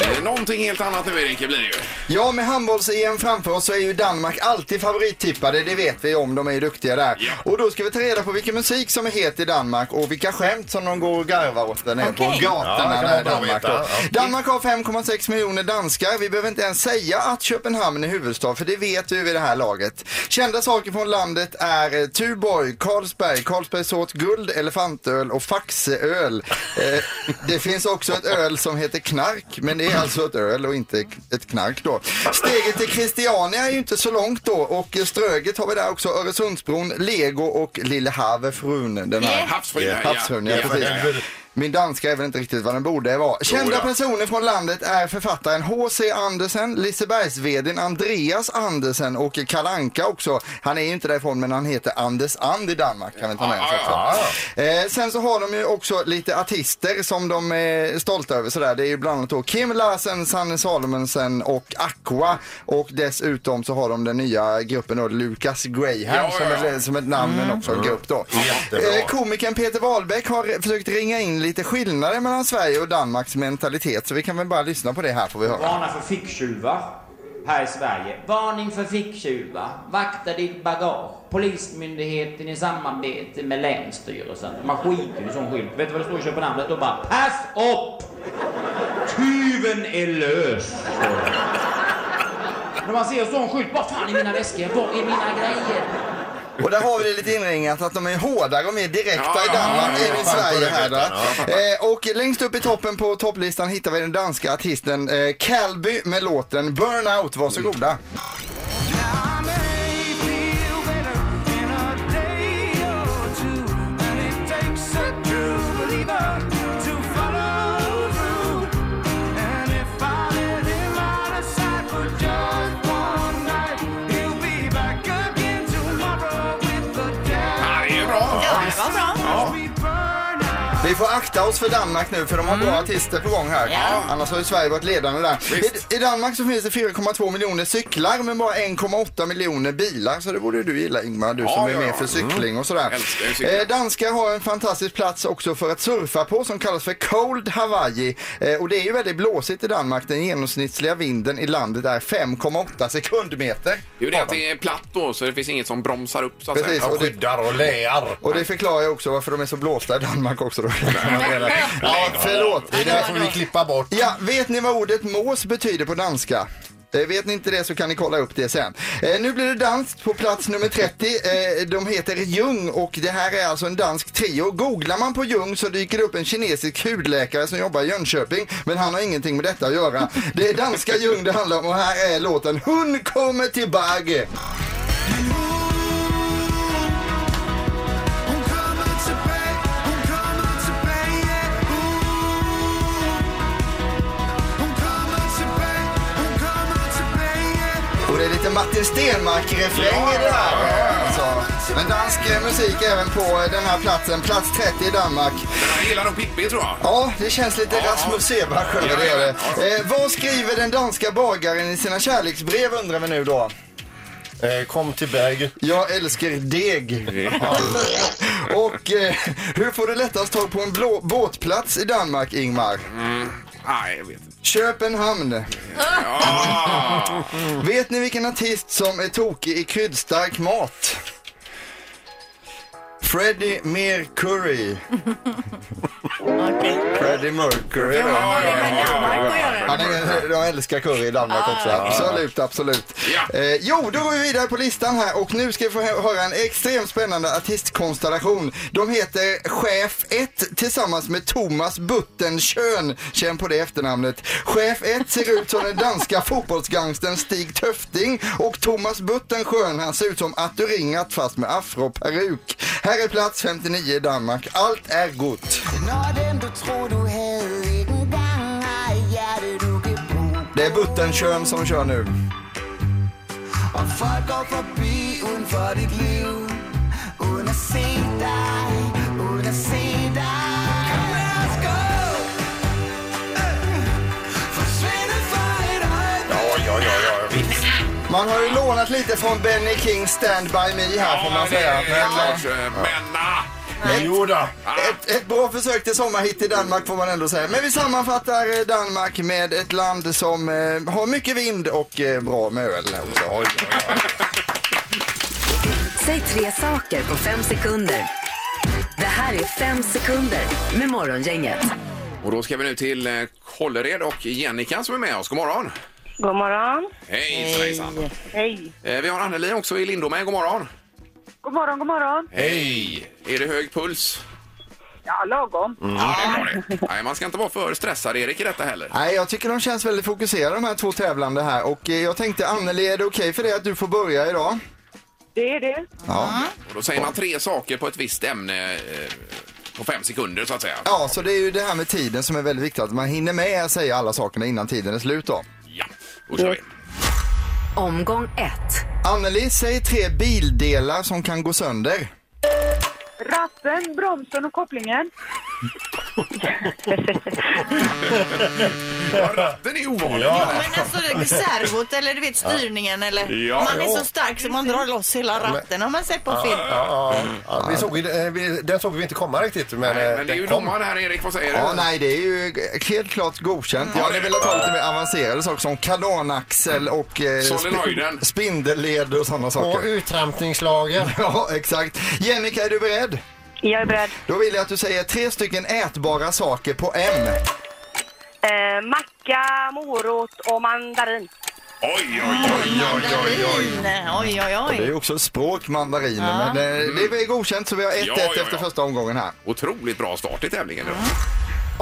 [SPEAKER 1] Eh, Någonting helt annat nu Erik, det blir det ju.
[SPEAKER 10] Ja, med handbolls-EM framför oss så är ju Danmark alltid favorittippade. Det vet vi om. De är ju duktiga där. Och då ska vi ta reda på vilken musik som är het i Danmark och vilka skämt som de går och garvar åt där nere
[SPEAKER 3] Okej.
[SPEAKER 10] på
[SPEAKER 3] Ja,
[SPEAKER 10] gatorna
[SPEAKER 3] det kan
[SPEAKER 10] där
[SPEAKER 3] vara
[SPEAKER 10] i
[SPEAKER 3] bra att
[SPEAKER 10] Danmark. Då.
[SPEAKER 3] veta, ja.
[SPEAKER 10] Danmark har 5,6 miljoner danskar. Vi behöver inte ens säga att Köpenhamn är huvudstad, för det vet vi vid det här laget. Kända saker från landet är eh, Tuborg, Carlsberg, Carlsbergsås, guld, elefantöl och faxeöl. Eh, det finns också ett öl som heter knark, men det är alltså ett öl och inte ett knark då. Steget till Christiania är ju inte så långt då och Ströget har vi där också, Öresundsbron, Lego och Lillehavefrun. Den här
[SPEAKER 1] Yeah. Havsfrun, ja.
[SPEAKER 10] Havsfrun, ja,
[SPEAKER 1] Ja,
[SPEAKER 10] precis.
[SPEAKER 1] ja, ja.
[SPEAKER 10] Min danska är väl inte riktigt vad den borde vara. Kända
[SPEAKER 1] ja.
[SPEAKER 10] personer från landet är författaren H.C. Andersen, Lisebergsvdn Andreas Andersen och Kalle Anka också. Han är ju inte därifrån men han heter Anders And i Danmark kan vi ta med oss också. Eh, sen så har de ju också lite artister som de är stolta över sådär. Det är ju bland annat då Kim Larsen, Sanne Salomonsen och Aqua. Och dessutom så har de den nya gruppen då Lucas Graham
[SPEAKER 3] Ja, ja, ja.
[SPEAKER 10] Som, ett, som ett namn men också en grupp då.
[SPEAKER 3] Jättebra.
[SPEAKER 10] Eh, Komikern Peter Wahlbeck har försökt ringa in lite skillnader mellan Sverige och Danmarks mentalitet så vi kan väl bara lyssna på det här får vi höra.
[SPEAKER 13] Varna för ficktjuvar här i Sverige. Varning för ficktjuvar. Vakta ditt bagage. Polismyndigheten i samarbete med Länsstyrelsen. Man skiter ju i sån skylt. Vet du vad det står i Köpenhamn? Det står bara pass upp! Tyven är lös! står det. När man ser en sån skylt, vad fan är mina väskor? Var är mina grejer?
[SPEAKER 10] Och där har vi det lite inringat att de är hårdare och mer direkta
[SPEAKER 3] Ja,
[SPEAKER 10] i Danmark
[SPEAKER 3] ja, ja,
[SPEAKER 10] än
[SPEAKER 3] ja.
[SPEAKER 10] i Sverige här. Då.
[SPEAKER 3] Ja,
[SPEAKER 10] Eh, och längst upp i toppen på topplistan hittar vi den danska artisten eh, Calby med låten Burnout. Varsågoda. Vi får akta oss för Danmark nu för de har bra artister på gång här. Annars har ju Sverige varit ledande där. I, I Danmark så finns det 4,2 miljoner cyklar men bara 1,8 miljoner bilar. Så det borde ju du gilla Ingmar, du
[SPEAKER 1] Ja,
[SPEAKER 10] som är
[SPEAKER 1] ja,
[SPEAKER 10] med
[SPEAKER 1] ja.
[SPEAKER 10] för cykling
[SPEAKER 1] Mm.
[SPEAKER 10] och sådär.
[SPEAKER 1] Älskar ju cyklar.
[SPEAKER 10] Eh, danskar har en fantastisk plats också för att surfa på som kallas för Cold Hawaii. Eh, och det är ju väldigt blåsigt i Danmark. Den genomsnittliga vinden i landet är 5,8 sekundmeter.
[SPEAKER 1] Det är ju det att det är platt då, så det finns inget som bromsar upp så att
[SPEAKER 10] Precis,
[SPEAKER 1] säga.
[SPEAKER 10] och det- Och skyddar och
[SPEAKER 3] lear.
[SPEAKER 10] Och det förklarar ju också varför de är så blåsta i Danmark också då. ja, förlåt.
[SPEAKER 3] Det där får vi klippa bort.
[SPEAKER 10] Ja, vet ni vad ordet mås betyder på danska? Eh, Vet ni inte det så kan ni kolla upp det sen. Eh, nu blir det dans på plats nummer 30. Eh, de heter Jung och det här är alltså en dansk trio. Googlar man på Jung så dyker det upp en kinesisk hudläkare som jobbar i Jönköping. Men han har ingenting med detta att göra. Det är danska Jung det handlar om och här är låten Hon kommer tillbaka. Och det är lite Martin Stenmarck-refräng i det här. Alltså, men dansk eh, musik även på eh, den här platsen, plats 30 i Danmark.
[SPEAKER 1] Jag gillar nog Pippi tror jag.
[SPEAKER 10] Ja, det känns lite Rasmus Seebach över det. är det. Eh, vad skriver den danska bagaren i sina kärleksbrev undrar vi nu då?
[SPEAKER 3] Eh, kom till berg.
[SPEAKER 10] Jag älskar deg. Och eh, hur får du lättast tag på en blå båtplats i Danmark, Ingmar?
[SPEAKER 1] Nej, jag vet inte.
[SPEAKER 10] Köpenhamn. Vet ni vilken artist som är tokig i kryddstark mat? Freddie Mercury. Freddie Mercury. då. Han är, de eh, älskar curry i Danmark också. Absolut, absolut. Eh, jo, då går vi vidare på listan här och nu ska vi få hö- höra en extremt spännande artistkonstellation. De heter Chef 1 tillsammans med Thomas Buttenkön. Känn på det efternamnet. Chef 1 ser ut som den danska fotbollsgangstern Stig Töfting och Thomas Buttenkön han ser ut som Atturingat fast med afroperuk. Här är plats 59 i Danmark. Allt är gott.
[SPEAKER 7] Når den du tror du havde ikke engang har hjerte du kan bruge
[SPEAKER 10] Det är Buttenkön som kör nu.
[SPEAKER 7] Og folk går forbi uden for dit liv Uden at se dig, uden at se dig Kom lad os gå Øh. Forsvinde for et øjeblik
[SPEAKER 3] Ja, ja, ja, visst.
[SPEAKER 10] Man har ju lånat lite från Benny Kings Stand By Me här får man säga. Men,
[SPEAKER 3] Men jo då.
[SPEAKER 10] ett, ett bra försök till sommarhit i Danmark får man ändå säga. Men vi sammanfattar eh, Danmark med ett land som eh, har mycket vind och eh, bra med öl också.
[SPEAKER 5] Säg tre saker på fem sekunder. Det här är fem sekunder med Morgongänget.
[SPEAKER 1] Och då ska vi nu till eh, Kållered och Jennica som är med oss. God morgon!
[SPEAKER 6] God morgon.
[SPEAKER 1] Hej svejsan!
[SPEAKER 6] Hej.
[SPEAKER 1] Eh, Vi har Anneli också i Lindome. God morgon!
[SPEAKER 6] God morgon, god morgon.
[SPEAKER 1] Hej! Är det hög puls? Mm,
[SPEAKER 6] Ja, lagom.
[SPEAKER 1] Ja, det var det. Nej, man ska inte vara för stressad, Erik, i detta heller.
[SPEAKER 10] Nej, jag tycker de känns väldigt fokuserade de här två tävlande här och eh, jag tänkte Anneli, är det okej för dig att du får börja idag?
[SPEAKER 6] Det är det.
[SPEAKER 10] Ja.
[SPEAKER 1] Och då säger man tre saker på ett visst ämne eh, på fem sekunder, så att säga.
[SPEAKER 10] Ja, så det är ju det här med tiden som är väldigt viktigt, att man hinner med att säga alla sakerna innan tiden är slut då.
[SPEAKER 1] Ja, då kör vi.
[SPEAKER 5] Omgång ett.
[SPEAKER 10] Anneli, säg tre bildelar som kan gå sönder.
[SPEAKER 6] Ratten, bromsen och kopplingen.
[SPEAKER 1] Ratten är ovanlig.
[SPEAKER 2] Ja, men alltså det är servot eller du vet styrningen eller
[SPEAKER 3] Ja,
[SPEAKER 2] man är
[SPEAKER 3] ja.
[SPEAKER 2] så stark så man drar loss hela ratten har man sett på
[SPEAKER 3] Ja,
[SPEAKER 2] film.
[SPEAKER 3] ja, ja. Ja, vi såg, ju- eh, vi- den såg vi inte komma riktigt. Men, eh,
[SPEAKER 1] Men det är
[SPEAKER 3] den
[SPEAKER 1] ju
[SPEAKER 3] kom.
[SPEAKER 1] domaren här, Erik. Vad säger
[SPEAKER 10] Ja,
[SPEAKER 1] du?
[SPEAKER 10] nej, det är ju helt klart godkänt. Jag hade velat ha lite mer avancerade saker som kardanaxel och eh,
[SPEAKER 1] Solenoiden.
[SPEAKER 10] spindelled och sådana saker.
[SPEAKER 3] Och utrampningslagen.
[SPEAKER 10] Ja, exakt. Jennica, är du beredd?
[SPEAKER 6] Jag är beredd.
[SPEAKER 10] Då vill jag att du säger tre stycken ätbara saker på M.
[SPEAKER 6] Eh, macka, morot och mandarin.
[SPEAKER 1] Oj, oj, oj, oj, oj, oj.
[SPEAKER 2] Oj, oj,
[SPEAKER 10] Och Det är
[SPEAKER 2] oj.
[SPEAKER 10] ju också språk, mandariner, men eh, det är godkänt så vi har 1-1
[SPEAKER 1] Ja, ja, ja.
[SPEAKER 10] efter första omgången här.
[SPEAKER 1] Otroligt bra start i tävlingen. idag.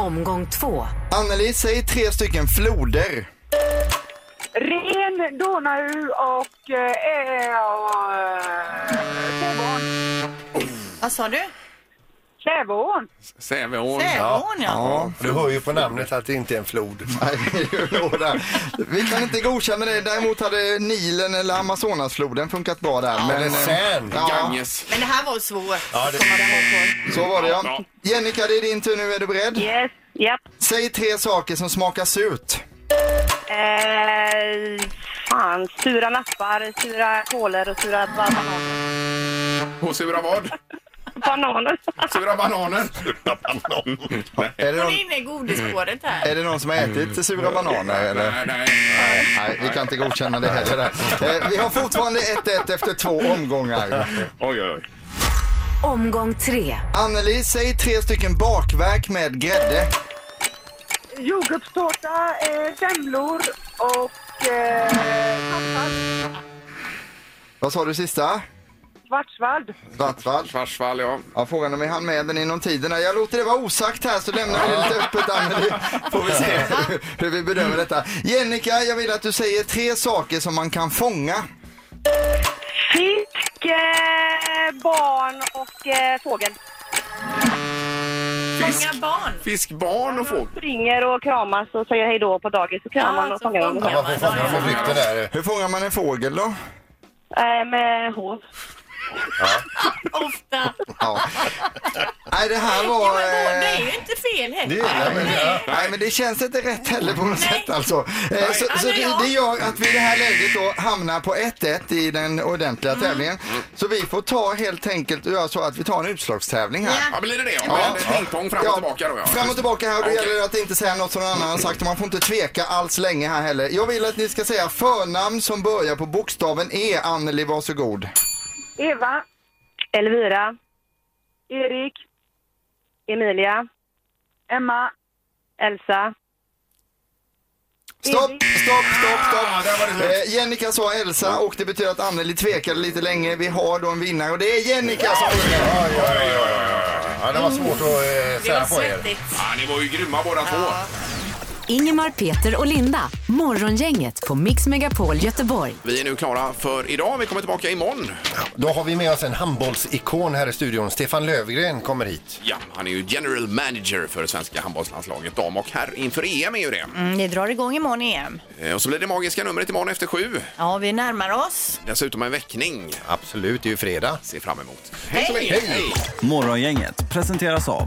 [SPEAKER 5] Omgång två.
[SPEAKER 10] Anneli, säg tre stycken floder.
[SPEAKER 6] Ren, Donau och... Eh, och eh, Säveån.
[SPEAKER 2] Vad sa du?
[SPEAKER 6] Säveån.
[SPEAKER 1] Säveån.
[SPEAKER 2] Säveån ja.
[SPEAKER 10] Ja,
[SPEAKER 3] Du hör ju på namnet att det inte är en flod.
[SPEAKER 10] Nej, det är ju låda. Vi kan inte godkänna det. Däremot hade Nilen eller Amazonasfloden funkat bra där. Men, eh,
[SPEAKER 3] Eller Seine.
[SPEAKER 10] ja,
[SPEAKER 1] Ganges.
[SPEAKER 2] Men det här var svårt.
[SPEAKER 3] Ja, det-
[SPEAKER 2] Komma ihåg.
[SPEAKER 10] så var det ja.
[SPEAKER 1] Ja.
[SPEAKER 10] Jennica, det är din tur nu. Är du beredd?
[SPEAKER 6] Yes. Japp.
[SPEAKER 10] Säg tre saker som smakar surt.
[SPEAKER 6] Eh, fan, sura nappar, sura kolor och sura ba- bananer.
[SPEAKER 1] Och sura vad?
[SPEAKER 6] Bananer.
[SPEAKER 1] Sura bananer.
[SPEAKER 10] Är det
[SPEAKER 2] Hon
[SPEAKER 10] någon,
[SPEAKER 2] är inne i godisspåret här.
[SPEAKER 10] är det någon som har ätit sura bananer? Eller?
[SPEAKER 1] Nej, nej, nej.
[SPEAKER 10] Nej, vi kan inte godkänna det heller. där. Eh, Vi har fortfarande 1-1 efter två omgångar.
[SPEAKER 1] Oj, oj, oj.
[SPEAKER 5] Omgång tre.
[SPEAKER 10] Anneli, säg tre stycken bakverk med grädde.
[SPEAKER 6] Jordgubbstårta, eh, semlor och eh, svartsvall.
[SPEAKER 10] Vad sa du sista?
[SPEAKER 6] Svartsvall.
[SPEAKER 10] Svartsvall.
[SPEAKER 1] Svartsvall, ja.
[SPEAKER 10] ja. Frågan om vi hann med den inom tiden. här. Jag låter det vara osagt här så lämnar vi det lite öppet Anneli. Får vi se hur vi bedömer detta. Jennica, jag vill att du säger tre saker som man kan fånga.
[SPEAKER 6] Fisk, eh, barn och eh, fågel.
[SPEAKER 3] Mm.
[SPEAKER 1] Fisk, barn. Fiskbarn och fågel.
[SPEAKER 6] Springer och kramas och säger hej då på dagis och kramar och fångar dem.
[SPEAKER 3] Ja, man får fånga konflikter där.
[SPEAKER 10] Hur fångar man en fågel då?
[SPEAKER 6] Eh, med hov.
[SPEAKER 4] Ofta.
[SPEAKER 10] Ja. Nej, det här
[SPEAKER 4] Ja,
[SPEAKER 10] var...
[SPEAKER 4] men vår- det är
[SPEAKER 10] eh,
[SPEAKER 4] ju inte fel
[SPEAKER 10] Det,
[SPEAKER 4] heller.
[SPEAKER 10] nej, men, nej, men det känns inte rätt heller på något sätt alltså. Eh, Så, så det, det gör att vi i det här läget då hamnar på 1-1 i den ordentliga
[SPEAKER 4] Mm.
[SPEAKER 10] tävlingen. Så vi får ta helt enkelt och göra så att vi tar en utslagstävling här.
[SPEAKER 1] Ja, blir det det? Ja, men Ping-pong fram och tillbaka då, ja.
[SPEAKER 10] Fram och tillbaka här och då
[SPEAKER 1] Okej.
[SPEAKER 10] gäller det att inte säga något som någon annan har sagt och man får inte tveka alls länge här heller. Jag vill att ni ska säga förnamn som börjar på bokstaven E. Anneli, varsågod.
[SPEAKER 6] Eva. Elvira. Erik. Emilia. Emma. Elsa.
[SPEAKER 10] Stopp, stopp, stopp, stopp.
[SPEAKER 6] slut.
[SPEAKER 10] eh, Jennica sa Elsa och det betyder att Anneli tvekade lite länge. Vi har då en vinnare och det är Jennica som vinner.
[SPEAKER 3] Oj, oj, oj, oj, oj. Ja, det var svårt att eh, säga på er.
[SPEAKER 1] Ja, ni var ju grymma båda två.
[SPEAKER 5] Ingemar, Peter och Linda. Morgongänget på Mix Megapol Göteborg.
[SPEAKER 1] Vi är nu klara för idag. Vi kommer tillbaka imorgon.
[SPEAKER 3] Då har vi med oss en handbollsikon här i studion. Stefan Lövgren kommer hit.
[SPEAKER 1] Ja, han är ju general manager för svenska handbollslandslaget dam och herr inför EM är ju det.
[SPEAKER 2] Mm, det drar igång imorgon EM.
[SPEAKER 1] Eh, Och så blir det magiska numret imorgon efter sju.
[SPEAKER 2] Ja, vi närmar oss.
[SPEAKER 1] Dessutom en väckning.
[SPEAKER 3] Absolut, det är ju fredag.
[SPEAKER 1] Ser fram emot.
[SPEAKER 2] Hej!
[SPEAKER 1] Hej!
[SPEAKER 14] Morgongänget presenteras av